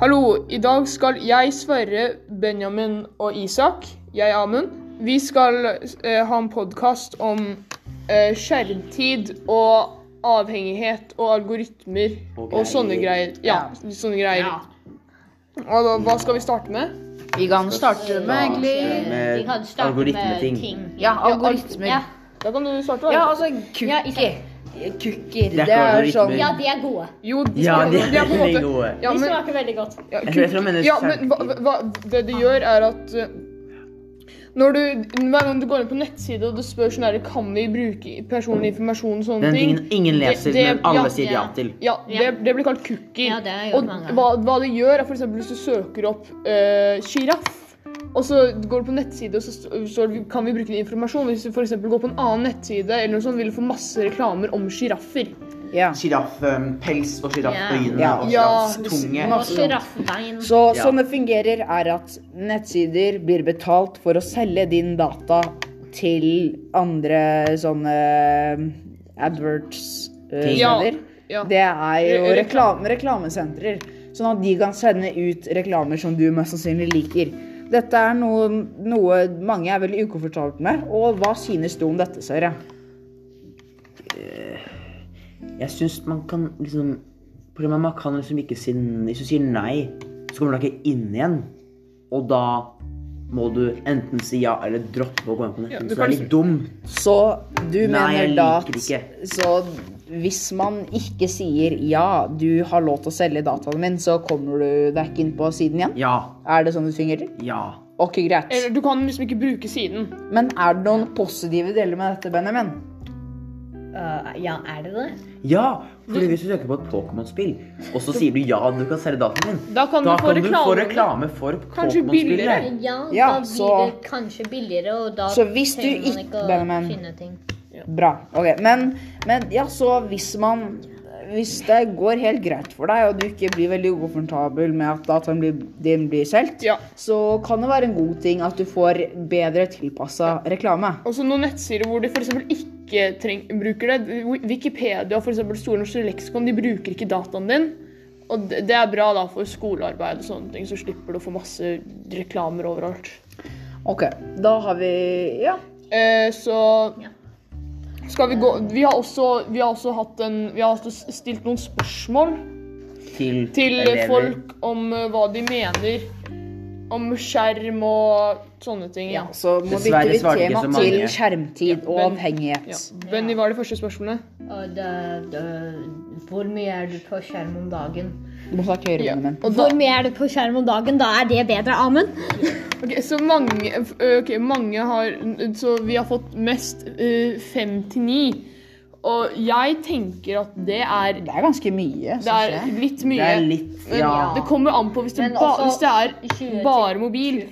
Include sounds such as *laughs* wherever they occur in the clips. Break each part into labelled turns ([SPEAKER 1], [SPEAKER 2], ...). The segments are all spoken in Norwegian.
[SPEAKER 1] Hallo, i dag skal jeg, Sverre, Benjamin og Isak, jeg Amund, vi skal eh, ha en podkast om eh, skjermtid og avhengighet og algoritmer
[SPEAKER 2] Og
[SPEAKER 1] og sånne
[SPEAKER 2] greier.
[SPEAKER 1] greier. Ja, sånne greier. Og da, hva skal vi starte med?
[SPEAKER 3] Vi kan starte med egentlig
[SPEAKER 2] Med
[SPEAKER 4] De kan starte
[SPEAKER 2] algoritmeting.
[SPEAKER 4] med ting.
[SPEAKER 3] Ja, algoritmer.
[SPEAKER 4] Ja,
[SPEAKER 3] Ja,
[SPEAKER 1] Da kan du starte.
[SPEAKER 3] ja
[SPEAKER 1] Alex.
[SPEAKER 3] altså
[SPEAKER 4] Ja,
[SPEAKER 3] kukker.
[SPEAKER 4] Isak.
[SPEAKER 3] Kukker,
[SPEAKER 2] Det er
[SPEAKER 3] det
[SPEAKER 2] ikke
[SPEAKER 3] er
[SPEAKER 2] algoritmer.
[SPEAKER 3] sånn
[SPEAKER 4] ja, de er gode.
[SPEAKER 1] Jo, de,
[SPEAKER 2] Ja,
[SPEAKER 1] smaker-
[SPEAKER 2] de er
[SPEAKER 1] de på en
[SPEAKER 2] veldig
[SPEAKER 1] måte-
[SPEAKER 2] gode.
[SPEAKER 1] Ja,
[SPEAKER 4] De
[SPEAKER 1] men,
[SPEAKER 4] smaker veldig godt.
[SPEAKER 1] ja,
[SPEAKER 2] Jeg tror jeg tror jeg mener
[SPEAKER 1] Ja, men hva,
[SPEAKER 2] skjermtid.
[SPEAKER 1] hva, det du gjør, er at eh, når du, hver gang du går inn på nettside og du spør sånn her, kan vi bruke personlig informasjon og sånne
[SPEAKER 2] Den
[SPEAKER 1] ting
[SPEAKER 2] tingen ingen leser,
[SPEAKER 1] det- det-
[SPEAKER 2] men alle
[SPEAKER 1] ja,
[SPEAKER 2] sier ja
[SPEAKER 4] ja.
[SPEAKER 2] til.
[SPEAKER 1] Ja,
[SPEAKER 4] Ja.
[SPEAKER 1] Det, det blir kalt cookie.
[SPEAKER 4] Ja, det har jeg gjort
[SPEAKER 1] og
[SPEAKER 4] mange ganger.
[SPEAKER 1] hva, hva det gjør, er f.eks. hvis du søker opp eh, sjiraff, og så går du på nettside og så st- står det kan vi bruke din informasjon. Hvis du f.eks. går på en annen nettside, eller noe sånt, vil du få masse reklamer om sjiraffer.
[SPEAKER 3] ja.
[SPEAKER 2] Sjiraffpels um, og sjirafføyne
[SPEAKER 3] Ja.
[SPEAKER 2] og
[SPEAKER 1] Ja.
[SPEAKER 2] sjirafftunge.
[SPEAKER 4] Og sjiraffbein.
[SPEAKER 3] Så
[SPEAKER 2] Ja.
[SPEAKER 3] sånn det fungerer, er at nettsider blir betalt for å selge din data til andre sånne eh, adverts-steder.
[SPEAKER 2] Ting.
[SPEAKER 1] Ja, ja.
[SPEAKER 3] Det er jo
[SPEAKER 1] Re- reklame.
[SPEAKER 3] reklame, reklamesentrer, sånn at de kan sende ut reklamer som du mest sannsynlig liker. Dette er noe, noe mange er veldig ukomfortable med. Og hva synes du om dette, Søre?
[SPEAKER 2] Jeg syns man kan liksom Problemet er at man kan liksom ikke si Hvis du sier nei, så kommer du deg ikke inn igjen. Og da må du enten si ja eller droppe å gå inn på
[SPEAKER 1] Ja,
[SPEAKER 2] nettet.
[SPEAKER 1] du
[SPEAKER 2] så det
[SPEAKER 1] kan
[SPEAKER 2] er
[SPEAKER 1] liksom-
[SPEAKER 2] litt dumt.
[SPEAKER 3] Så du
[SPEAKER 2] Nei, jeg
[SPEAKER 3] mener da at
[SPEAKER 2] liker det
[SPEAKER 3] Så hvis man ikke sier ja, du har lov til å selge dataen min, så kommer du deg ikke inn på siden igjen?
[SPEAKER 2] Ja.
[SPEAKER 3] Er det sånn det fungerer?
[SPEAKER 2] Ja.
[SPEAKER 3] Ok, greit.
[SPEAKER 1] Eller du kan liksom ikke bruke siden.
[SPEAKER 3] Men er det noen positive deler med dette, Benjamin?
[SPEAKER 4] Øh, ja, er det det?
[SPEAKER 2] Ja! Fordi hvis du søker på et Pokémon-spill, og så sier du ja, du kan selge dataen din,
[SPEAKER 1] Da kan
[SPEAKER 2] da
[SPEAKER 1] du få
[SPEAKER 2] kan du få
[SPEAKER 1] reklame.
[SPEAKER 2] reklame for
[SPEAKER 1] Kanskje billigere.
[SPEAKER 2] Pokémon-spillet.
[SPEAKER 4] Ja,
[SPEAKER 3] Ja,
[SPEAKER 4] da blir
[SPEAKER 3] så-
[SPEAKER 4] det kanskje billigere, og da
[SPEAKER 3] Så hvis du
[SPEAKER 4] trenger man
[SPEAKER 3] ikke-
[SPEAKER 4] ikke å
[SPEAKER 3] Benjamin.
[SPEAKER 4] finne ting.
[SPEAKER 3] Bra. Ok, men, men ja, så hvis man Hvis det går helt greit for deg, og du ikke blir veldig ukomfortabel med at dataen blir, din blir solgt,
[SPEAKER 1] Ja.
[SPEAKER 3] så kan det være en god ting at du får bedre tilpassa
[SPEAKER 1] Også
[SPEAKER 3] reklame.
[SPEAKER 1] Altså, noen nettsider hvor de f.eks. ikke treng, bruker det. Wikipedia og for eksempel Store norske leksikon de bruker ikke dataen din. Og det det er bra da for skolearbeid og sånne ting, så slipper du å få masse reklamer overalt.
[SPEAKER 3] Ok, da har vi Ja.
[SPEAKER 1] Eh, så
[SPEAKER 4] Ja.
[SPEAKER 1] skal vi gå Vi har også, vi har også hatt en Vi har også stilt noen spørsmål
[SPEAKER 2] Til,
[SPEAKER 1] til
[SPEAKER 2] elever.
[SPEAKER 1] folk om eh, hva de mener om skjerm og sånne ting.
[SPEAKER 3] ja så må
[SPEAKER 2] Dessverre
[SPEAKER 3] bytte vi
[SPEAKER 2] svarte ikke
[SPEAKER 3] tema
[SPEAKER 2] så mange.
[SPEAKER 3] til skjermtid og
[SPEAKER 1] men-
[SPEAKER 3] avhengighet.
[SPEAKER 1] Ja. Benny, hva er de første spørsmålene?
[SPEAKER 4] Og da, da, hvor mye er du på skjerm om dagen?
[SPEAKER 3] Du må snakke høyere,
[SPEAKER 1] Ja.
[SPEAKER 3] Benjamin.
[SPEAKER 1] Og da-
[SPEAKER 4] Hvor mye er du på skjerm om dagen? Da er det bedre, Amund.
[SPEAKER 1] Ok, så mange, ø, ok, mange har Så vi har fått mest ø, fem til ni. Og jeg tenker at det er
[SPEAKER 3] Det er ganske mye.
[SPEAKER 1] Det
[SPEAKER 3] synes
[SPEAKER 1] er
[SPEAKER 3] jeg.
[SPEAKER 1] litt
[SPEAKER 2] Det
[SPEAKER 1] mye.
[SPEAKER 2] er litt
[SPEAKER 1] Men
[SPEAKER 2] Ja.
[SPEAKER 1] det kommer an på hvis det,
[SPEAKER 4] Men
[SPEAKER 1] ba,
[SPEAKER 4] også
[SPEAKER 1] hvis det
[SPEAKER 4] 20
[SPEAKER 1] er
[SPEAKER 4] til
[SPEAKER 1] bare mobil.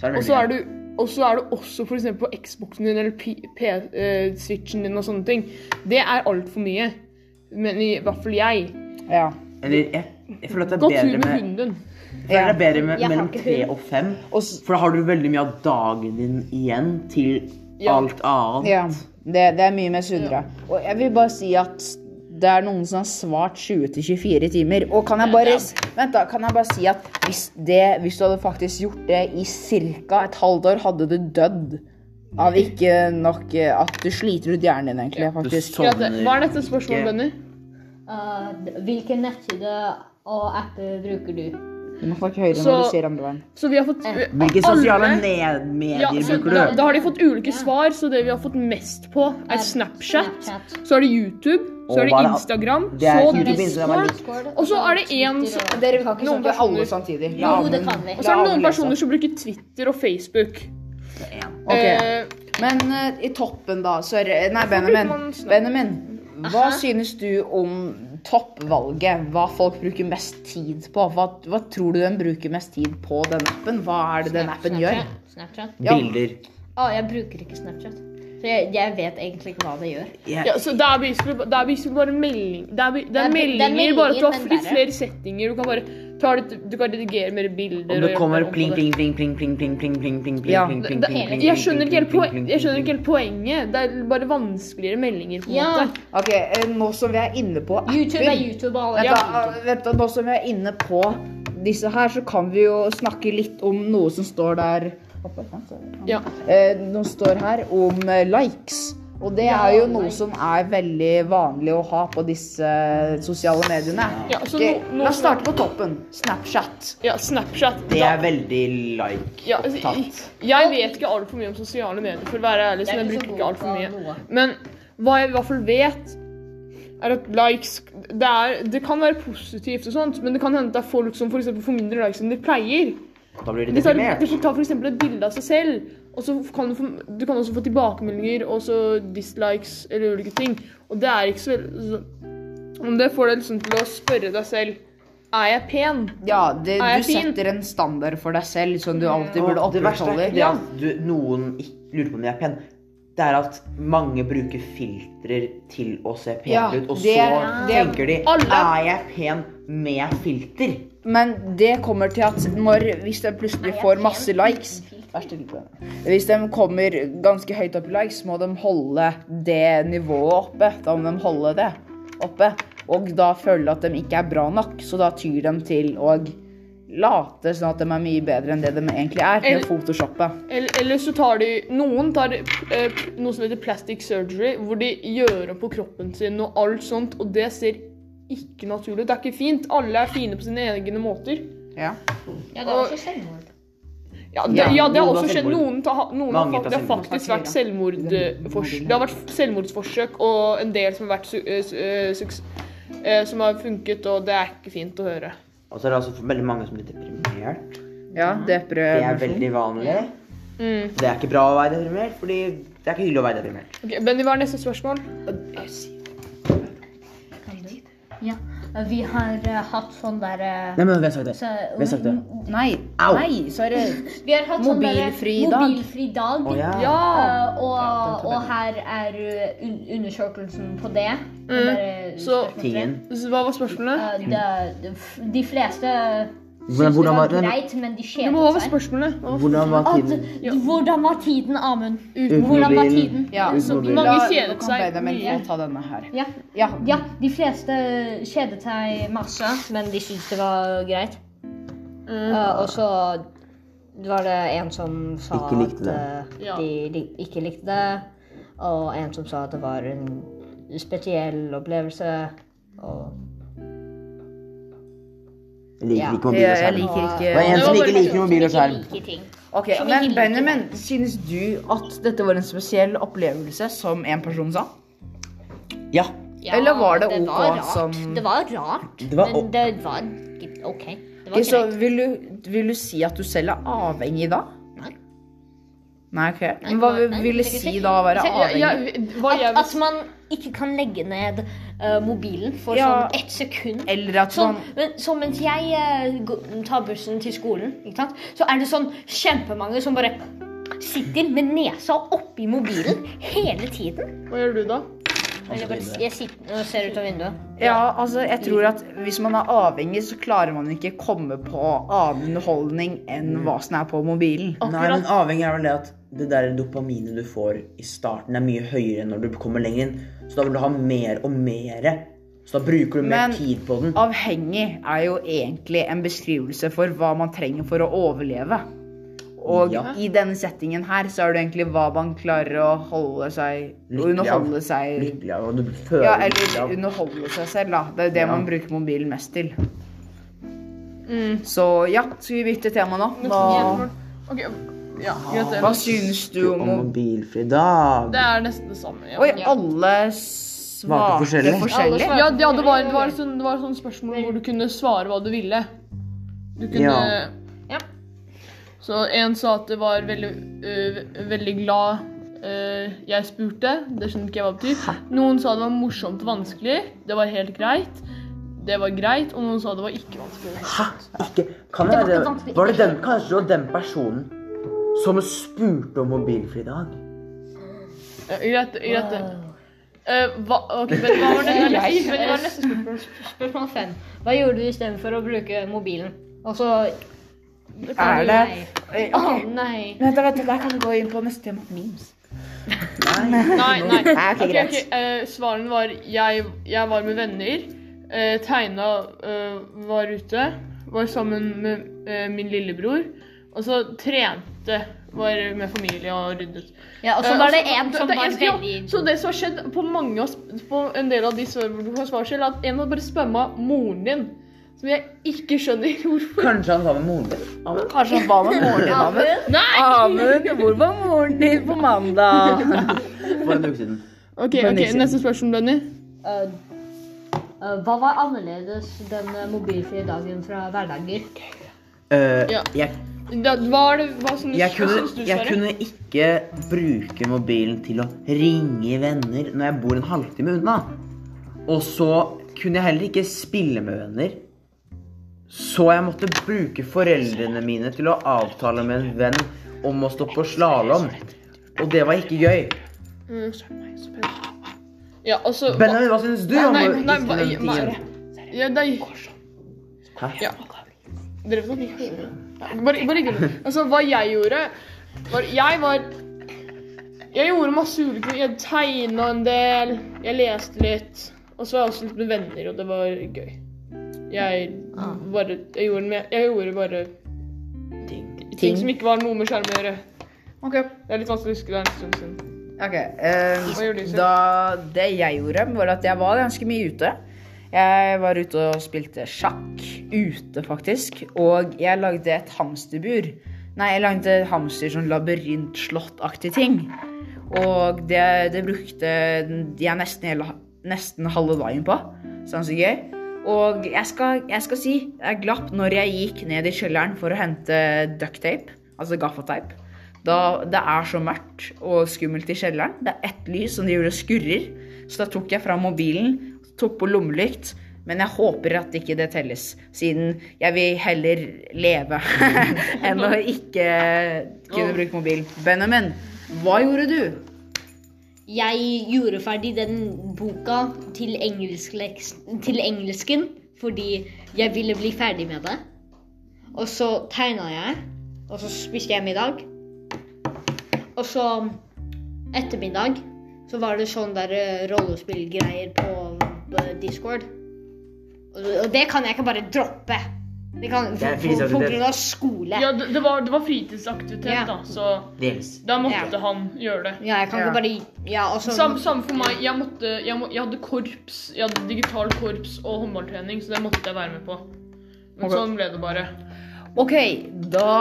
[SPEAKER 2] Så er det
[SPEAKER 1] Og så er
[SPEAKER 2] veldig-
[SPEAKER 1] du og så er det også for eksempel på Xboxen din eller P- P- ø, Switchen din og sånne ting. Det er altfor mye. Men i hvert fall jeg.
[SPEAKER 3] Ja.
[SPEAKER 2] Eller jeg, jeg føler at det
[SPEAKER 1] Gå
[SPEAKER 2] er
[SPEAKER 1] tur
[SPEAKER 2] bedre
[SPEAKER 1] med
[SPEAKER 2] med
[SPEAKER 1] hunden.
[SPEAKER 2] Jeg føler det er bedre med
[SPEAKER 4] Jeg har
[SPEAKER 2] mellom
[SPEAKER 4] ikke
[SPEAKER 2] tre
[SPEAKER 4] hund.
[SPEAKER 2] og fem.
[SPEAKER 3] Og s-
[SPEAKER 2] For da har du veldig mye av dagen din igjen til
[SPEAKER 1] Ja.
[SPEAKER 2] alt annet.
[SPEAKER 3] Ja, det, det er mye mer sunnere. Og jeg vil bare si at det er noen som har svart 20-24 timer. Og kan jeg bare, s- vent da, kan jeg bare si at hvis, det, hvis du hadde faktisk gjort det i ca. et halvt år, hadde du dødd av ikke nok eh, At du sliter ut hjernen din, egentlig.
[SPEAKER 2] Du
[SPEAKER 3] faktisk.
[SPEAKER 1] Greit, det.
[SPEAKER 2] sovner
[SPEAKER 1] Hva er dette spørsmålet,
[SPEAKER 2] ikke.
[SPEAKER 1] Benny?
[SPEAKER 4] Eh, hvilken nettside og apper bruker du?
[SPEAKER 3] Du må snakke høyere
[SPEAKER 1] Så-
[SPEAKER 3] når du sier andre veien.
[SPEAKER 1] Så vi har fått
[SPEAKER 2] Hvilke
[SPEAKER 1] alle-
[SPEAKER 2] sosiale ned- medier
[SPEAKER 1] Ja, så
[SPEAKER 2] bruker du?
[SPEAKER 1] da, da har de fått ulike svar, så det vi har fått mest på, er Snapchat.
[SPEAKER 4] Snapchat.
[SPEAKER 1] Så er det YouTube, så
[SPEAKER 2] Og
[SPEAKER 1] er
[SPEAKER 2] hva
[SPEAKER 1] det
[SPEAKER 2] er det-
[SPEAKER 1] Instagram,
[SPEAKER 2] Det er
[SPEAKER 1] så
[SPEAKER 2] YouTube, Instagram er
[SPEAKER 1] Discord.
[SPEAKER 2] litt-
[SPEAKER 1] Og så er det en som-
[SPEAKER 3] Dere kan ikke
[SPEAKER 1] Noen
[SPEAKER 3] snakke
[SPEAKER 1] personer-
[SPEAKER 3] alle samtidig.
[SPEAKER 4] Jo, det kan vi.
[SPEAKER 1] Og så er det noen personer som bruker Twitter og Facebook.
[SPEAKER 3] Ok.
[SPEAKER 1] Eh,
[SPEAKER 3] Men eh, i toppen, da så er, Nei,
[SPEAKER 1] bruker man
[SPEAKER 3] Benjamin.
[SPEAKER 1] snakk?
[SPEAKER 3] Benjamin, hva synes du om toppvalget? Hva folk bruker mest tid på? Hva, hva tror du den bruker mest tid på, den appen? Hva er det den appen gjør?
[SPEAKER 4] Snapchat.
[SPEAKER 3] Ja.
[SPEAKER 2] Bilder.
[SPEAKER 4] Å, jeg bruker ikke Snapchat. Så jeg, jeg vet egentlig ikke hva det gjør.
[SPEAKER 2] Jeg,
[SPEAKER 1] ja, så det er basically det er basically bare melding. Det er, be- det er
[SPEAKER 4] er be- det er
[SPEAKER 1] meldinger, bare at du har
[SPEAKER 4] meldinger, men
[SPEAKER 1] litt
[SPEAKER 4] verre.
[SPEAKER 1] flere settinger. Du kan bare ta det, du kan redigere mer bilder.
[SPEAKER 2] og
[SPEAKER 1] og
[SPEAKER 2] det
[SPEAKER 1] gjøre
[SPEAKER 2] kommer
[SPEAKER 1] om på
[SPEAKER 2] pling,
[SPEAKER 1] det.
[SPEAKER 2] pling, pling, pling, pling, pling, pling, pling, pling,
[SPEAKER 3] Ja.
[SPEAKER 2] pling,
[SPEAKER 4] Det-
[SPEAKER 2] pling,
[SPEAKER 4] det-
[SPEAKER 2] pling, pling,
[SPEAKER 1] Jeg skjønner ikke helt
[SPEAKER 2] pling, pling,
[SPEAKER 1] poen-
[SPEAKER 2] pling,
[SPEAKER 1] jeg skjønner ikke
[SPEAKER 2] pling,
[SPEAKER 1] helt poenget. Det er bare vanskeligere meldinger. på en
[SPEAKER 4] Ja.
[SPEAKER 1] måte.
[SPEAKER 3] Ok, eh, Nå som vi er inne på apper
[SPEAKER 4] YouTube er YouTube og alle
[SPEAKER 3] Vent,
[SPEAKER 4] ja.
[SPEAKER 3] da, eh, vent da, Nå som vi er inne på disse her, så kan vi jo snakke litt om noe som står der oppe. sant?
[SPEAKER 1] Ja.
[SPEAKER 3] Eh, noe står her om eh, likes. Og det
[SPEAKER 4] Ja,
[SPEAKER 3] er jo noe
[SPEAKER 4] likes.
[SPEAKER 3] som er veldig vanlig å ha på disse eh, sosiale mediene.
[SPEAKER 1] Ja, så
[SPEAKER 3] Ok,
[SPEAKER 1] nå- nå-
[SPEAKER 3] La oss starte på toppen. Snapchat.
[SPEAKER 1] Ja, Snapchat.
[SPEAKER 2] Det
[SPEAKER 1] da-
[SPEAKER 2] er veldig like.
[SPEAKER 1] ja, altså, jeg, jeg vet ikke altfor mye om sosiale medier, for å være ærlig. så jeg bruker ikke alt for mye.
[SPEAKER 4] noe.
[SPEAKER 1] Men hva jeg i hvert fall vet, er at likes Det, er, det kan være positivt, og sånt, men det kan hende at det er folk som for eksempel får mindre likes enn de pleier.
[SPEAKER 2] Da blir de
[SPEAKER 1] De tar,
[SPEAKER 2] deprimert.
[SPEAKER 1] de tar for eksempel et bilde av seg selv, og så kan du, få, du kan også få tilbakemeldinger og så dislikes eller ulike ting. Og det er ikke så veldig så, Om det får deg liksom til å spørre deg selv Er jeg pen?
[SPEAKER 3] Ja, det,
[SPEAKER 1] Er jeg
[SPEAKER 3] du
[SPEAKER 1] fin?
[SPEAKER 3] setter en standard for deg selv som du alltid
[SPEAKER 2] Og
[SPEAKER 3] burde
[SPEAKER 2] det verste er
[SPEAKER 3] opprettholde.
[SPEAKER 2] ikke det at du, noen ikke lurer på om de er pene. Det er at mange bruker filtrer til å se pene
[SPEAKER 3] Ja,
[SPEAKER 2] ut, og
[SPEAKER 3] det-
[SPEAKER 2] så
[SPEAKER 3] det-
[SPEAKER 2] tenker de
[SPEAKER 1] alle-
[SPEAKER 2] Er jeg pen med filter?
[SPEAKER 3] Men det kommer til at når, hvis de plutselig får masse likes Vær stille på den. Hvis de kommer ganske høyt opp i likes, må de holde det nivået oppe. Da må de holde det oppe. Og da føler de at de ikke er bra nok, så da tyr de til å late sånn at de er mye bedre enn det de egentlig er,
[SPEAKER 1] Eller-
[SPEAKER 3] med photoshoppet.
[SPEAKER 1] Eller, eller så tar de Noen tar eh, noe som heter plastic surgery, hvor de gjør om på kroppen sin og alt sånt, og det ser ikke naturlig ut. Det er ikke fint. Alle er fine på sine egne måter.
[SPEAKER 3] Ja.
[SPEAKER 4] Ja, det er også selvmord.
[SPEAKER 1] Ja, det,
[SPEAKER 3] Ja,
[SPEAKER 1] ja, det har
[SPEAKER 2] noen
[SPEAKER 1] også
[SPEAKER 2] har
[SPEAKER 1] skjedd.
[SPEAKER 2] selvmord.
[SPEAKER 1] Noen, ta, noen har,
[SPEAKER 2] Mange
[SPEAKER 1] fak- det
[SPEAKER 2] tar
[SPEAKER 1] har
[SPEAKER 2] selvmord.
[SPEAKER 1] faktisk vært selvmordfors- Det har vært selvmordsforsøk og en del som har vært su eh, su eh, suks- eh, som har funket, og det er ikke fint å høre.
[SPEAKER 2] Og så er det altså veldig mange som blir deprimert.
[SPEAKER 3] ja depre...
[SPEAKER 2] Det er veldig vanlig.
[SPEAKER 1] Mm.
[SPEAKER 2] Det er ikke bra å være deprimert, fordi det er ikke hyggelig å være deprimert.
[SPEAKER 1] Ok, Benny, hva er neste spørsmål?
[SPEAKER 4] Kan du? Ja. Vi har eh, hatt sånn derre
[SPEAKER 2] Nei, men vi har sagt det. vi har sagt det.
[SPEAKER 3] Nei,
[SPEAKER 2] Au.
[SPEAKER 3] nei, sorry.
[SPEAKER 4] Vi har hatt sånn derre
[SPEAKER 3] Mobilfri dag.
[SPEAKER 4] Mobilfri dag.
[SPEAKER 2] Å ja.
[SPEAKER 1] Ja!
[SPEAKER 4] Eh, og, og her er eh, un undersøkelsen på det. Den eh, derre
[SPEAKER 1] Så-
[SPEAKER 4] spørsmålet.
[SPEAKER 2] Tingen.
[SPEAKER 1] Så Hva var spørsmålet?
[SPEAKER 4] Eh, det- det f- de fleste
[SPEAKER 2] Hvordan-
[SPEAKER 4] syntes det
[SPEAKER 2] hvordan var
[SPEAKER 4] var
[SPEAKER 2] den-
[SPEAKER 4] greit, men de
[SPEAKER 1] Du må hva
[SPEAKER 4] kjedet
[SPEAKER 1] var
[SPEAKER 4] seg.
[SPEAKER 1] spørsmålet? Hva var
[SPEAKER 2] Hvordan var
[SPEAKER 4] At,
[SPEAKER 2] tiden?
[SPEAKER 4] hvordan var tiden, Amund?
[SPEAKER 2] Uten
[SPEAKER 4] Hvordan var
[SPEAKER 2] mobilen.
[SPEAKER 4] tiden?
[SPEAKER 3] Ja,
[SPEAKER 2] Uten
[SPEAKER 1] så
[SPEAKER 2] mobilen.
[SPEAKER 1] mange-
[SPEAKER 3] Da-
[SPEAKER 1] kjedet
[SPEAKER 3] nå kan
[SPEAKER 1] seg
[SPEAKER 3] Benjamin
[SPEAKER 1] mye.
[SPEAKER 3] få ta denne her.
[SPEAKER 4] Ja.
[SPEAKER 3] Ja,
[SPEAKER 4] ja, de fleste kjedet seg masse, men de syntes det var greit. Eh, og så var det en som sa
[SPEAKER 2] Ikke likte det.
[SPEAKER 4] at eh,
[SPEAKER 1] Ja.
[SPEAKER 4] de lik, ikke likte det. Og en som sa at det var en spesiell opplevelse. Og
[SPEAKER 2] Jeg liker
[SPEAKER 4] Ja.
[SPEAKER 2] ikke mobiler
[SPEAKER 3] Jeg- jeg
[SPEAKER 2] særlig.
[SPEAKER 3] liker ikke-
[SPEAKER 2] Det var en
[SPEAKER 1] Det var
[SPEAKER 2] som
[SPEAKER 1] bare-
[SPEAKER 2] ikke liker mobil og skjerm.
[SPEAKER 4] Ikke liker ting.
[SPEAKER 3] Ok,
[SPEAKER 4] Som ikke
[SPEAKER 3] Men
[SPEAKER 4] liker
[SPEAKER 3] Benjamin, synes du at dette var en spesiell opplevelse, som en person sa?
[SPEAKER 2] Ja.
[SPEAKER 4] Ja,
[SPEAKER 3] Eller var det ok
[SPEAKER 4] var rart.
[SPEAKER 3] som-
[SPEAKER 4] Det var rart,
[SPEAKER 2] Det var o-
[SPEAKER 4] men det var g- OK. Det var
[SPEAKER 3] Ok, så
[SPEAKER 4] greit.
[SPEAKER 3] vil du, vil du si at du selv er avhengig da?
[SPEAKER 4] Nei.
[SPEAKER 3] Nei, ok. Men hva
[SPEAKER 4] nei,
[SPEAKER 3] vil du
[SPEAKER 4] det er
[SPEAKER 3] si
[SPEAKER 4] ikke-
[SPEAKER 3] da å være
[SPEAKER 1] Ja, ja,
[SPEAKER 3] avhengig?
[SPEAKER 1] hva jeg
[SPEAKER 4] At, at man ikke kan legge ned eh, mobilen for
[SPEAKER 3] Ja.
[SPEAKER 4] sånn ett sekund.
[SPEAKER 3] Eller at
[SPEAKER 4] Sånn,
[SPEAKER 3] man
[SPEAKER 4] men, så mens jeg eh, gå- tar bussen til skolen, ikke sant? så er det sånn kjempemange som bare sitter med nesa oppi mobilen hele tiden.
[SPEAKER 1] Hva gjør du da?
[SPEAKER 3] Altså
[SPEAKER 4] Jeg, bare, jeg sitter og ser ut av vinduet.
[SPEAKER 3] Ja, altså, jeg tror at hvis man er avhengig, så klarer man ikke komme på annen underholdning enn hva som er på mobilen.
[SPEAKER 2] Nei, men avhengig er vel det at det der dopaminet du får i starten, er mye høyere enn når du kommer lenger inn. Så da vil du ha mer og mere. Så da bruker du mer
[SPEAKER 3] Men-
[SPEAKER 2] tid på den.
[SPEAKER 3] Avhengig er jo egentlig en beskrivelse for hva man trenger for å overleve. Og
[SPEAKER 2] Ja.
[SPEAKER 3] i denne settingen her så er det egentlig hva man klarer å holde seg
[SPEAKER 2] Lykkelig av.
[SPEAKER 3] Underholde seg
[SPEAKER 2] Lykkelig av, og du føler
[SPEAKER 3] Ja,
[SPEAKER 2] lykkelig av.
[SPEAKER 3] eller underholde seg selv, da. Det er det
[SPEAKER 2] Ja.
[SPEAKER 3] man bruker mobilen mest til. Så ja, skal vi bytte tema nå? Hva,
[SPEAKER 1] Mm. Ok, ja, greit
[SPEAKER 3] hva
[SPEAKER 1] det.
[SPEAKER 3] syns du om
[SPEAKER 2] om mobilfri dag.
[SPEAKER 1] Det er nesten det samme. Ja,
[SPEAKER 3] Oi, alle svarte
[SPEAKER 2] forskjellig.
[SPEAKER 3] forskjellig? forskjellig?
[SPEAKER 1] ja, ja det var, det var, sånn, det var sånn spørsmål hvor du kunne svare hva du ville. Du kunne
[SPEAKER 2] Ja.
[SPEAKER 4] Ja.
[SPEAKER 1] Så en sa at det var veldig, øh, veldig glad øh, jeg spurte. Det skjønte ikke jeg hva det betyr. Noen sa det var morsomt og vanskelig. Det var helt greit. Det var greit. Og noen sa det var ikke vanskelig.
[SPEAKER 2] Hæ? Ikke Kan det
[SPEAKER 4] var ikke
[SPEAKER 2] være
[SPEAKER 4] vanskelig.
[SPEAKER 2] Var det den Kanskje det var den personen som spurte om mobilfri dag?
[SPEAKER 1] Ja, Øh, greit, greit. det. Eh, hva, ok, men hva
[SPEAKER 3] *laughs*
[SPEAKER 1] var det hva var neste- hva var neste spørsmål?
[SPEAKER 4] Spørsmål fem. Hva gjorde du istedenfor å bruke mobilen? Og så
[SPEAKER 3] Er det Oi,
[SPEAKER 4] Å
[SPEAKER 3] ok.
[SPEAKER 4] nei.
[SPEAKER 3] Vent, vent, der kan vi gå inn på neste tema. Memes.
[SPEAKER 1] Nei,
[SPEAKER 2] *laughs*
[SPEAKER 1] nei.
[SPEAKER 3] Nei, ok,
[SPEAKER 1] Ok,
[SPEAKER 3] greit.
[SPEAKER 1] ok, eh, svaren eh, var jeg, jeg var med venner. Uh, tegna eh, var ute. var sammen med eh, min lillebror. Og så trente, var med familie og ryddet.
[SPEAKER 4] Ja, og så
[SPEAKER 1] Eh,
[SPEAKER 4] var det
[SPEAKER 1] altså,
[SPEAKER 4] en som
[SPEAKER 1] det-
[SPEAKER 4] var
[SPEAKER 1] det- ja,
[SPEAKER 4] veldig
[SPEAKER 1] Så det som har skjedd på mange av sp- på en del av de svarene på svarsel, er at en har bare spamma moren din. Som jeg ikke skjønner *laughs* hvorfor.
[SPEAKER 2] Kanskje han var med moren din? Amund?
[SPEAKER 3] Kanskje han ba sånn, med moren din, Amund?
[SPEAKER 1] Nei!
[SPEAKER 3] Amund, hvor var moren din på mandag?
[SPEAKER 2] For en uke siden.
[SPEAKER 1] Ok,
[SPEAKER 3] Bare
[SPEAKER 1] ok,
[SPEAKER 3] niks igjen.
[SPEAKER 1] Neste spørsmål, Benny.
[SPEAKER 4] Eh, eh, Hva var annerledes den eh, mobilfrie dagen fra hverdager?
[SPEAKER 2] Eh,
[SPEAKER 1] Ja.
[SPEAKER 2] jeg,
[SPEAKER 1] Da, hva er det hva som du
[SPEAKER 2] jeg, kunne,
[SPEAKER 1] syns du
[SPEAKER 2] jeg
[SPEAKER 1] Sverre?
[SPEAKER 2] kunne ikke bruke mobilen til å ringe venner når jeg bor en halvtime unna. Og så kunne jeg heller ikke spille med venner. Så jeg måtte bruke foreldrene mine til å avtale med en venn om å stå på slalåm. Og det var ikke gøy.
[SPEAKER 1] Mm, Ja, altså
[SPEAKER 2] Benjamin, hva syns du
[SPEAKER 1] Nei,
[SPEAKER 2] om
[SPEAKER 1] nei,
[SPEAKER 2] å
[SPEAKER 1] nei,
[SPEAKER 2] ikke
[SPEAKER 1] hva-
[SPEAKER 2] den
[SPEAKER 1] hva er
[SPEAKER 2] tingen?
[SPEAKER 1] det? ja, nei,
[SPEAKER 2] Hæ?
[SPEAKER 1] Ja. Dere vet at jeg ikke hører det. Bare, bare ikke det. Altså, hva jeg gjorde var, Jeg var Jeg gjorde masse ulike ting. Jeg tegna en del. Jeg leste litt. Og så var jeg også litt med venner, og det var gøy. Jeg bare Jeg gjorde, me- jeg gjorde bare
[SPEAKER 2] Ting.
[SPEAKER 1] ting som ikke var noe med skjerm å gjøre.
[SPEAKER 3] Ok,
[SPEAKER 1] Det er litt vanskelig å huske det er en stund siden.
[SPEAKER 3] Ok, eh,
[SPEAKER 1] Hva gjorde du, Sif?
[SPEAKER 3] da, det jeg gjorde, var at jeg var ganske mye ute. Jeg var ute og spilte sjakk ute, faktisk. Og jeg lagde et hamsterbur. Nei, jeg lagde hamster sånn labyrintslottaktig ting. Og det, det brukte jeg nesten, hele, nesten halve dagen på. sånn Så det var så gøy. Og jeg skal, jeg skal si jeg glapp når jeg gikk ned i kjelleren for å hente ducktape, altså gaffateip. Da det er så mørkt og skummelt i kjelleren. Det er ett lys som driver og skurrer. Så da tok jeg fram mobilen, tok på lommelykt. Men jeg håper at ikke det telles, siden jeg vil heller leve *laughs* enn å ikke kunne bruke mobil. Benjamin, hva gjorde du?
[SPEAKER 4] Jeg gjorde ferdig den boka til, engelskleks- til engelsken fordi jeg ville bli ferdig med det. Og så tegna jeg, og så spiste jeg middag. Og så ettermiddag så var det sånn der eh, rollespillgreier på eh, Discord. Og og det kan jeg ikke bare droppe. Det kan,
[SPEAKER 2] Det er
[SPEAKER 4] for, for, for
[SPEAKER 2] fritidsaktivitet.
[SPEAKER 4] grunn av skole.
[SPEAKER 1] Ja, det, det, var, det var fritidsaktivitet,
[SPEAKER 4] Ja.
[SPEAKER 1] da, så
[SPEAKER 2] Dels.
[SPEAKER 1] da måtte han gjøre det.
[SPEAKER 4] Ja, jeg kan
[SPEAKER 3] Ja.
[SPEAKER 4] ikke bare Ja, altså og så
[SPEAKER 3] Sånn.
[SPEAKER 1] Samme, samme for meg. Jeg, måtte, jeg, må, jeg hadde korps. Jeg hadde digital korps og håndballtrening, så det måtte jeg være med på. Men
[SPEAKER 3] Ok.
[SPEAKER 1] sånn ble det bare.
[SPEAKER 3] Ok, da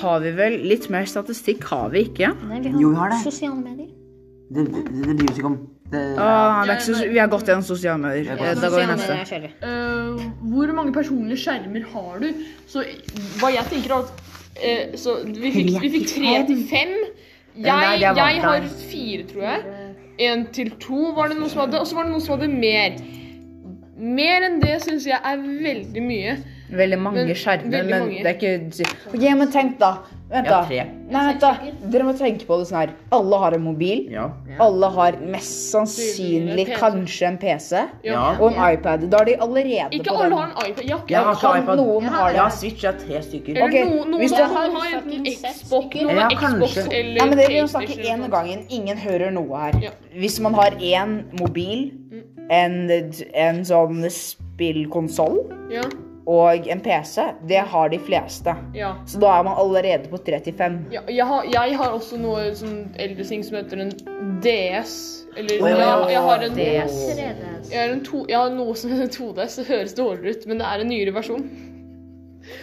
[SPEAKER 3] har vi vel litt mer statistikk, har vi ikke?
[SPEAKER 4] Nei, vi
[SPEAKER 2] Jo, vi har det.
[SPEAKER 4] sosiale medier.
[SPEAKER 2] Det, det, det bryr oss ikke om. Det,
[SPEAKER 3] Ah, det er ikke så, vi har gått gjennom sosiale medier.
[SPEAKER 2] Jeg
[SPEAKER 3] Eh, Da går vi neste.
[SPEAKER 4] neste.
[SPEAKER 1] Eh, hvor mange personlige skjermer har du? Så hva jeg tenker er at eh, Så vi fikk, vi fikk tre til fem.
[SPEAKER 3] Nei,
[SPEAKER 1] Jeg,
[SPEAKER 3] det er
[SPEAKER 1] jeg
[SPEAKER 3] vant,
[SPEAKER 1] har fire, tror jeg. En til to var det noen som hadde, og så var det noen som hadde mer. Mer enn det syns jeg er veldig mye.
[SPEAKER 3] Veldig
[SPEAKER 1] Men-
[SPEAKER 3] mange skjermer,
[SPEAKER 1] veldig
[SPEAKER 3] men
[SPEAKER 1] mange.
[SPEAKER 3] det er ikke Ok, men tenk, da. Vent,
[SPEAKER 2] Jeg
[SPEAKER 3] da.
[SPEAKER 2] har tre.
[SPEAKER 3] Nei, vent da. Dere må tenke på det sånn her. Alle har en mobil.
[SPEAKER 2] Ja.
[SPEAKER 3] Alle har mest sannsynlig
[SPEAKER 1] PC.
[SPEAKER 3] kanskje en PC
[SPEAKER 1] Ja.
[SPEAKER 2] Ja.
[SPEAKER 3] og en iPad. Da er de allerede
[SPEAKER 1] Ikke
[SPEAKER 3] på
[SPEAKER 1] alle
[SPEAKER 3] den.
[SPEAKER 1] har en iPad. Jeg har
[SPEAKER 2] Jeg har ikke
[SPEAKER 3] Kan
[SPEAKER 2] iPad.
[SPEAKER 3] noen ha det?
[SPEAKER 2] Jeg har Switch, jeg har tre stykker.
[SPEAKER 1] Eller
[SPEAKER 3] Ok,
[SPEAKER 1] noen, noen,
[SPEAKER 3] hvis
[SPEAKER 1] har-
[SPEAKER 3] du-
[SPEAKER 1] noen har enten Xbox, noen
[SPEAKER 2] Ja,
[SPEAKER 1] har Xbox
[SPEAKER 2] kanskje.
[SPEAKER 1] eller
[SPEAKER 3] Ja, men Dere må snakke
[SPEAKER 1] PlayStation
[SPEAKER 3] én
[SPEAKER 1] eller
[SPEAKER 3] om
[SPEAKER 1] noe.
[SPEAKER 3] gangen. Ingen hører noe her.
[SPEAKER 1] Ja. Mm.
[SPEAKER 3] Hvis man har én mobil, en, en sånn spillkonsoll
[SPEAKER 1] Ja,
[SPEAKER 3] og en PC, det har de fleste.
[SPEAKER 1] ja.
[SPEAKER 3] Så da er man allerede på 35.
[SPEAKER 1] Ja, jeg, har, jeg har også noe sånn eldre ting som heter en DS. Eller
[SPEAKER 2] Åh,
[SPEAKER 1] jeg, jeg har en
[SPEAKER 3] DS.
[SPEAKER 1] jeg har, en to, jeg har noe som heter 2DS. Det høres dårligere ut, men det er en nyere versjon.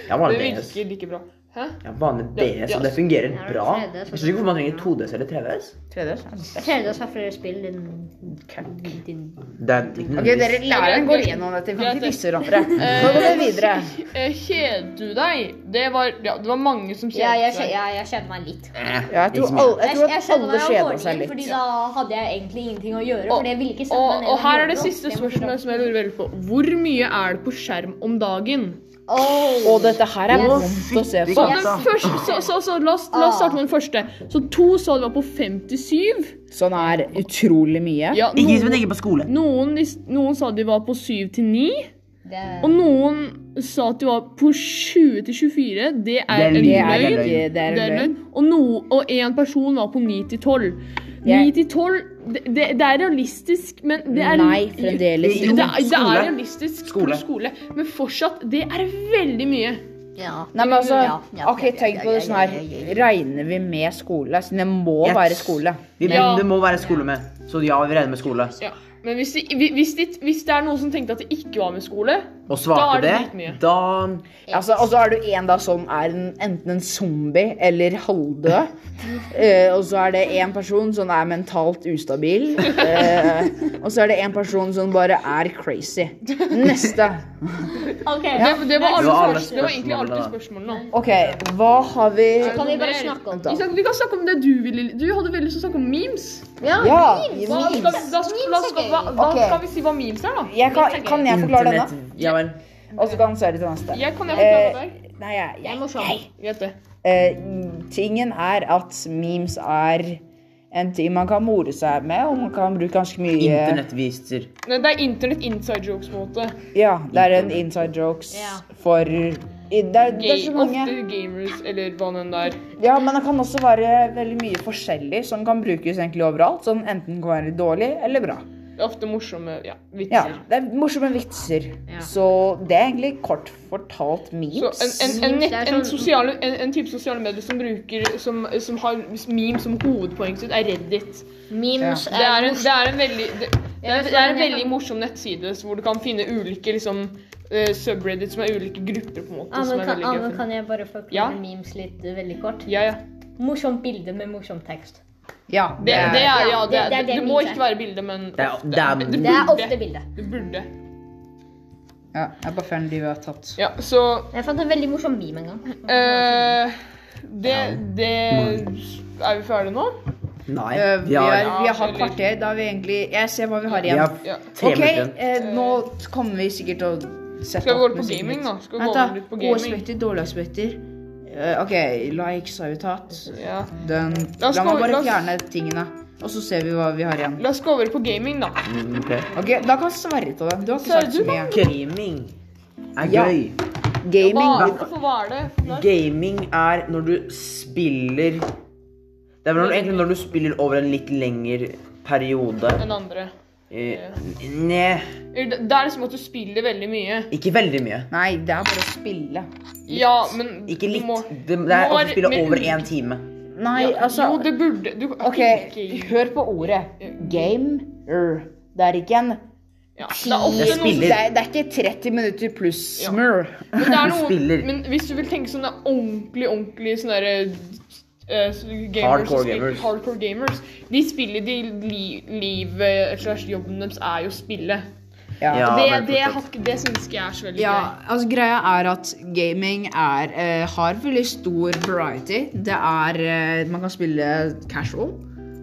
[SPEAKER 2] Jeg har
[SPEAKER 1] Det
[SPEAKER 2] bare DS.
[SPEAKER 1] virker like bra. Hæ?
[SPEAKER 2] Jeg har vanlig DS,
[SPEAKER 1] Ja.
[SPEAKER 2] og det fungerer
[SPEAKER 4] Ja,
[SPEAKER 2] bra.
[SPEAKER 4] det er det,
[SPEAKER 2] Jeg skjønner ikke hvorfor man trenger 2DS eller 3DS.
[SPEAKER 3] 3DS er best.
[SPEAKER 4] Tredje har flere spill enn
[SPEAKER 2] Det er ikke
[SPEAKER 4] din
[SPEAKER 3] *laughs*
[SPEAKER 2] Eh,
[SPEAKER 3] Ok, dere læreren går
[SPEAKER 1] greit.
[SPEAKER 3] gjennom dette. Vi
[SPEAKER 1] Greit,
[SPEAKER 3] kan ikke
[SPEAKER 1] det. *laughs*
[SPEAKER 3] disse hverandre. Nå går vi videre.
[SPEAKER 1] Eh, *laughs* Kjeder du deg? Det var, ja, det var mange som
[SPEAKER 4] Ja,
[SPEAKER 1] kjedet
[SPEAKER 4] jeg,
[SPEAKER 1] seg.
[SPEAKER 4] ja, jeg kjenner meg litt.
[SPEAKER 3] Ja, jeg, tror alle, jeg tror at alle kjeda seg litt.
[SPEAKER 4] Fordi da hadde jeg egentlig ingenting å gjøre.
[SPEAKER 1] Og-
[SPEAKER 4] for jeg ville ikke sette meg
[SPEAKER 1] Og,
[SPEAKER 4] ned
[SPEAKER 1] og her er det
[SPEAKER 4] gjøre noe.
[SPEAKER 1] siste
[SPEAKER 4] Jeg må
[SPEAKER 1] spørsmålet
[SPEAKER 4] prøve.
[SPEAKER 1] som jeg lurer veldig på. Hvor mye er det på skjerm om dagen?
[SPEAKER 4] Åh,
[SPEAKER 3] Og dette her er vondt å se på.
[SPEAKER 1] Den første, så, så, så, la, oss, la oss starte med den første. Så to sa det var på 57.
[SPEAKER 3] Sånn er utrolig mye.
[SPEAKER 1] Ja,
[SPEAKER 2] Ikke
[SPEAKER 1] noen-
[SPEAKER 2] som tenker på skole.
[SPEAKER 1] Noen, noen sa de var på 7 til 9,
[SPEAKER 4] det,
[SPEAKER 1] og noen sa at de var på 20 til 24. Det er en
[SPEAKER 2] Det
[SPEAKER 3] Det
[SPEAKER 1] løgn.
[SPEAKER 3] er
[SPEAKER 2] løgn.
[SPEAKER 3] ikke det er
[SPEAKER 1] Det er en
[SPEAKER 3] løgn.
[SPEAKER 1] løgn. Og, no, og en person var på 9 til 12.
[SPEAKER 3] Jeg-
[SPEAKER 1] 9 til 12 det, det, det er realistisk, men det er
[SPEAKER 3] Nei, fremdeles.
[SPEAKER 1] Det, er- det er
[SPEAKER 2] Skole.
[SPEAKER 1] realistisk
[SPEAKER 2] Skole.
[SPEAKER 1] skole. skole, men fortsatt, det er veldig mye.
[SPEAKER 4] Ja.
[SPEAKER 3] Nei, men altså,
[SPEAKER 4] Ja, ja,
[SPEAKER 3] ok,
[SPEAKER 4] ja, ja,
[SPEAKER 3] tenk
[SPEAKER 4] ja,
[SPEAKER 3] på det
[SPEAKER 4] ja,
[SPEAKER 3] sånn
[SPEAKER 4] ja,
[SPEAKER 3] her.
[SPEAKER 4] ja, ja, ja.
[SPEAKER 3] Regner vi med skole? Siden det må
[SPEAKER 2] Yes.
[SPEAKER 3] være skole.
[SPEAKER 2] Vi,
[SPEAKER 1] Ja.
[SPEAKER 2] Det må være skole med. Så ja, vi regner med skole.
[SPEAKER 1] Ja. Men hvis det, hvis, det, hvis det er noen som tenkte at det ikke var med skole
[SPEAKER 2] Og
[SPEAKER 1] Da
[SPEAKER 2] svarte
[SPEAKER 1] er det
[SPEAKER 2] det,
[SPEAKER 1] dritmye.
[SPEAKER 2] da
[SPEAKER 3] Altså, og så er du en da som er en, enten en zombie eller
[SPEAKER 4] *laughs*
[SPEAKER 3] halvdød. Eh, og så er det en person som er mentalt ustabil. Eh, og så er det en person som bare er crazy. Neste.
[SPEAKER 4] Ok,
[SPEAKER 1] det, det, var alle,
[SPEAKER 2] Det var alle
[SPEAKER 1] svar- det var egentlig alle spørsmålene. da.
[SPEAKER 3] OK, hva har vi
[SPEAKER 4] Kan vi bare snakke om
[SPEAKER 1] Vi,
[SPEAKER 4] det?
[SPEAKER 1] snakker- vi kan snakke om det du ville Du hadde veldig lyst til å snakke om memes.
[SPEAKER 3] Ja!
[SPEAKER 1] Hva, skal, vi- da, la oss- hva, hva
[SPEAKER 3] Ok.
[SPEAKER 1] skal vi si hva memes er, da?
[SPEAKER 3] Jeg kan, kan jeg forklare denne?
[SPEAKER 2] Internett Ja vel.
[SPEAKER 3] Og så kan Sverre til neste.
[SPEAKER 1] Jeg kan jeg
[SPEAKER 3] Eh,
[SPEAKER 1] forklare
[SPEAKER 3] nei, jeg, jeg,
[SPEAKER 4] Jeg må se.
[SPEAKER 1] deg? Vet det.
[SPEAKER 3] Eh, tingen er at memes er en ting man kan more seg med, og man kan bruke ganske mye
[SPEAKER 2] Internettviser.
[SPEAKER 1] Nei, Det er internett inside jokes, på en måte.
[SPEAKER 3] Ja, det er en inside jokes
[SPEAKER 4] Ja.
[SPEAKER 3] for i- det er, det er
[SPEAKER 1] Ga-
[SPEAKER 3] så mange.
[SPEAKER 1] Ofte gamers, eller hva nå enn det er.
[SPEAKER 3] Ja, men det kan også være veldig mye forskjellig som kan brukes egentlig overalt. Som enten kan være dårlig eller bra.
[SPEAKER 1] Det er ofte morsomme ja,
[SPEAKER 3] Ja,
[SPEAKER 1] vitser.
[SPEAKER 3] Det er morsomme vitser.
[SPEAKER 4] Ja.
[SPEAKER 3] Så det er egentlig kort fortalt
[SPEAKER 1] Så
[SPEAKER 3] memes.
[SPEAKER 1] en, en, en,
[SPEAKER 4] Memes
[SPEAKER 1] nett,
[SPEAKER 4] er
[SPEAKER 1] en,
[SPEAKER 4] sånn-
[SPEAKER 1] sosiale, en, en type sosiale medier som bruker som, som har memes som hovedpoeng sitt, er Reddit.
[SPEAKER 4] Memes
[SPEAKER 1] Det er en, det er en veldig det, det
[SPEAKER 4] Ja,
[SPEAKER 1] er,
[SPEAKER 4] men
[SPEAKER 1] det er en
[SPEAKER 4] jeg
[SPEAKER 1] veldig
[SPEAKER 4] kan-
[SPEAKER 1] morsom nettside så hvor du kan finne ulike liksom, eh, subreddits med ulike grupper. på en måte
[SPEAKER 4] Ja,
[SPEAKER 1] som
[SPEAKER 4] men
[SPEAKER 1] er veldig
[SPEAKER 4] kan, ja,
[SPEAKER 1] gøy å
[SPEAKER 4] men
[SPEAKER 1] finne.
[SPEAKER 4] kan jeg bare forklare
[SPEAKER 1] Ja.
[SPEAKER 4] memes litt eh, veldig kort?
[SPEAKER 1] Ja, ja.
[SPEAKER 4] Morsomt bilde med morsom tekst.
[SPEAKER 3] Ja,
[SPEAKER 1] Det, det er, ja, det,
[SPEAKER 4] det- det er
[SPEAKER 1] det,
[SPEAKER 4] det
[SPEAKER 1] må
[SPEAKER 4] memes er.
[SPEAKER 1] ikke være bilde, men
[SPEAKER 2] Det er, det er,
[SPEAKER 1] Det
[SPEAKER 4] Det er
[SPEAKER 1] burde.
[SPEAKER 4] ofte bilde.
[SPEAKER 1] det burde.
[SPEAKER 3] ja, jeg er bare fan de vi har tatt.
[SPEAKER 1] Ja, så
[SPEAKER 4] Jeg fant en veldig morsom meme en gang.
[SPEAKER 1] eh, det, det Er vi ferdige nå?
[SPEAKER 2] Nei.
[SPEAKER 3] Eh, vi, er,
[SPEAKER 2] har-
[SPEAKER 3] vi har kvarter. Da har vi egentlig Jeg ser hva vi har
[SPEAKER 2] vi
[SPEAKER 3] igjen.
[SPEAKER 2] har
[SPEAKER 1] Ja.
[SPEAKER 2] tre
[SPEAKER 3] ok,
[SPEAKER 2] minutter igjen.
[SPEAKER 3] eh, nå kommer vi sikkert til å sette
[SPEAKER 1] Skal vi gå
[SPEAKER 3] opp
[SPEAKER 1] litt på
[SPEAKER 3] musikken
[SPEAKER 1] gaming,
[SPEAKER 3] litt.
[SPEAKER 1] da? Skal vi gå
[SPEAKER 3] Vent da,
[SPEAKER 1] litt på
[SPEAKER 3] Gode
[SPEAKER 1] gaming?
[SPEAKER 3] aspekter, dårlige aspekter. Eh, OK, likes har vi tatt.
[SPEAKER 1] Ja.
[SPEAKER 3] Den
[SPEAKER 1] La
[SPEAKER 3] La,
[SPEAKER 1] oss gå-
[SPEAKER 3] meg
[SPEAKER 1] la
[SPEAKER 3] bare
[SPEAKER 1] oss-
[SPEAKER 3] fjerne tingene, og så ser vi hva vi har igjen.
[SPEAKER 1] La oss gå over på gaming, da.
[SPEAKER 2] Mm, ok.
[SPEAKER 3] Ok, Da kan Sverre ta den. Du har ikke
[SPEAKER 1] Sverre,
[SPEAKER 3] sagt
[SPEAKER 1] du
[SPEAKER 3] så mye.
[SPEAKER 2] Gaming er
[SPEAKER 3] Ja.
[SPEAKER 2] gøy.
[SPEAKER 1] Hva,
[SPEAKER 3] Gaming.
[SPEAKER 1] hvorfor, hva er det? Nei.
[SPEAKER 2] Gaming er når du spiller Det er vel egentlig når du spiller over en litt lengre periode.
[SPEAKER 1] Enn andre.
[SPEAKER 2] Eh, Neh,
[SPEAKER 1] Eller, Det det er liksom at du spiller veldig mye.
[SPEAKER 2] ikke veldig mye.
[SPEAKER 3] Nei, det er bare å spille.
[SPEAKER 1] Ja, men
[SPEAKER 2] Ikke
[SPEAKER 1] du
[SPEAKER 2] litt.
[SPEAKER 1] må-
[SPEAKER 2] Det, det er
[SPEAKER 1] må
[SPEAKER 2] å
[SPEAKER 1] være
[SPEAKER 2] spille
[SPEAKER 1] mer
[SPEAKER 2] over
[SPEAKER 1] ulike-
[SPEAKER 2] én time.
[SPEAKER 3] Nei,
[SPEAKER 1] Ja,
[SPEAKER 3] altså
[SPEAKER 1] Jo, det burde du,
[SPEAKER 3] OK, hør på ordet. Gamer. Det er ikke en
[SPEAKER 1] Ja, det er ofte
[SPEAKER 2] Jeg
[SPEAKER 1] noen
[SPEAKER 2] spiller.
[SPEAKER 3] det er, det er ikke 30 minutter pluss
[SPEAKER 1] Ja.
[SPEAKER 3] smør.
[SPEAKER 1] men, det er
[SPEAKER 2] Du
[SPEAKER 1] noen,
[SPEAKER 2] spiller.
[SPEAKER 1] men hvis du vil tenke sånne ordentlig, ordentlig sånne der, eh, så- gamers,
[SPEAKER 2] Hardcore
[SPEAKER 1] som spiller-
[SPEAKER 2] gamers.
[SPEAKER 1] hardcore gamers De spiller de li, livet slash jobben deres er jo å spille.
[SPEAKER 3] Ja.
[SPEAKER 2] Ja,
[SPEAKER 1] det
[SPEAKER 2] men
[SPEAKER 1] det,
[SPEAKER 2] fortsatt.
[SPEAKER 1] har ikke- det syns ikke jeg er så veldig
[SPEAKER 3] Ja,
[SPEAKER 1] gøy.
[SPEAKER 3] altså greia er at gaming er, eh, har veldig stor variety. Det er, eh, man kan spille casual,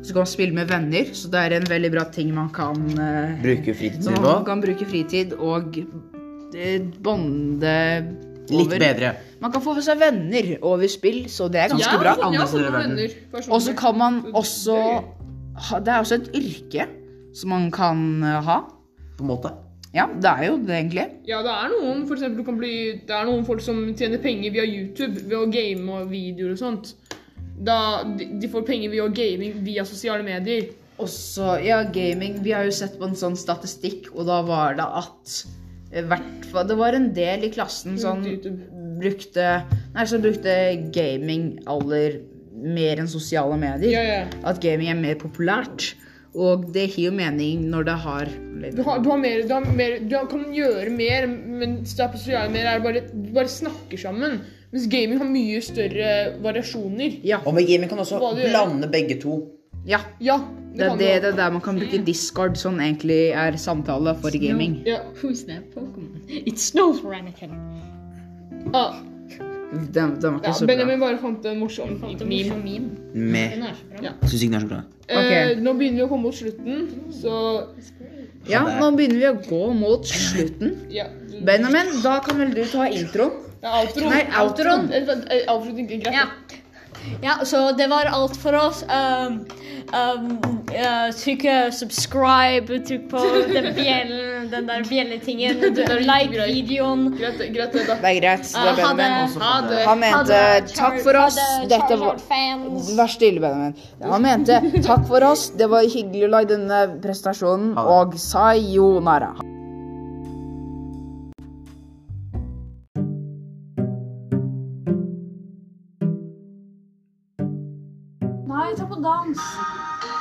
[SPEAKER 3] så kan man spille med venner, så det er en veldig bra ting man kan, eh,
[SPEAKER 2] Bruke
[SPEAKER 3] som
[SPEAKER 2] fritiden
[SPEAKER 3] man
[SPEAKER 2] på.
[SPEAKER 3] kan bruke fritid og eh, bonde
[SPEAKER 2] Litt
[SPEAKER 3] over.
[SPEAKER 2] bedre.
[SPEAKER 3] Man kan få seg venner over spill, så det er ganske
[SPEAKER 1] Ja,
[SPEAKER 3] bra.
[SPEAKER 1] sånn- ja,
[SPEAKER 2] Andre
[SPEAKER 1] sånne
[SPEAKER 2] steder i verden.
[SPEAKER 1] venner, sånn- personer.
[SPEAKER 3] Og så kan man også ha, Det er også et yrke som man kan eh, ha.
[SPEAKER 2] På en måte.
[SPEAKER 3] Ja, det er jo det, egentlig.
[SPEAKER 1] Ja, det er noen for eksempel, du kan bli, det er noen folk som tjener penger via YouTube ved å game og videoer og sånt. Da, de, de får penger via gaming via sosiale medier.
[SPEAKER 3] Også, ja, gaming. Vi har jo sett på en sånn statistikk, og da var det at eh, hvert fall- Det var en del i klassen
[SPEAKER 1] Mm,
[SPEAKER 3] som brukte Nei, som brukte gaming aller mer enn sosiale medier.
[SPEAKER 1] Ja, ja.
[SPEAKER 3] At gaming er mer populært. Og det gir jo mening når det har
[SPEAKER 1] Du, har, du, har mer, du, har mer, du har- kan gjøre mer, mens det er på sosiale medier er det bare, du bare snakker sammen. Mens gaming har mye større variasjoner.
[SPEAKER 3] Ja.
[SPEAKER 2] Og med gaming kan også
[SPEAKER 1] Hva du gjør.
[SPEAKER 2] blande begge to.
[SPEAKER 3] ja.
[SPEAKER 1] Ja,
[SPEAKER 3] Det er
[SPEAKER 1] kan
[SPEAKER 3] det,
[SPEAKER 1] du-
[SPEAKER 3] det er der man kan bruke Discord, som egentlig er samtale for gaming.
[SPEAKER 1] Ja.
[SPEAKER 4] Who's that Pokemon? It snows Rannikin.
[SPEAKER 1] Ah,
[SPEAKER 3] Den, den var
[SPEAKER 1] ja,
[SPEAKER 3] ikke så bra.
[SPEAKER 1] Benjamin bare fant en morsom meme.
[SPEAKER 4] Morsom meme.
[SPEAKER 2] Med
[SPEAKER 4] Den er så bra.
[SPEAKER 1] Ja.
[SPEAKER 2] Syns ikke den er så bra.
[SPEAKER 1] Eh,
[SPEAKER 3] Ok.
[SPEAKER 1] nå begynner vi å komme mot slutten, så
[SPEAKER 3] Ja, nå begynner vi å gå mot slutten.
[SPEAKER 1] ja.
[SPEAKER 3] Benjamin, da kan vel du ta introen?
[SPEAKER 1] Det er outro. Eh,
[SPEAKER 3] Nei, outroen.
[SPEAKER 1] Avslutning. Greit.
[SPEAKER 4] Ja. Ja, så det var alt for oss. Um, um, eh, trykk eh, subscribe, trykk på den bjellen, den der *laughs* bjelletingen. Du- Like videoen.
[SPEAKER 1] Greit, greit det, da.
[SPEAKER 3] Det er greit. Det
[SPEAKER 4] Eh,
[SPEAKER 3] er
[SPEAKER 4] ha
[SPEAKER 3] Benjamin.
[SPEAKER 4] det.
[SPEAKER 2] Også
[SPEAKER 1] Ha
[SPEAKER 2] for
[SPEAKER 1] det.
[SPEAKER 3] Han mente uh, takk for oss. Dette var
[SPEAKER 4] fans.
[SPEAKER 3] Vær stille, Benjamin. Han mente takk for oss. Det var hyggelig å lage denne presentasjonen,
[SPEAKER 2] Ha det.
[SPEAKER 3] og sayonara.
[SPEAKER 5] Nei, ta på dans.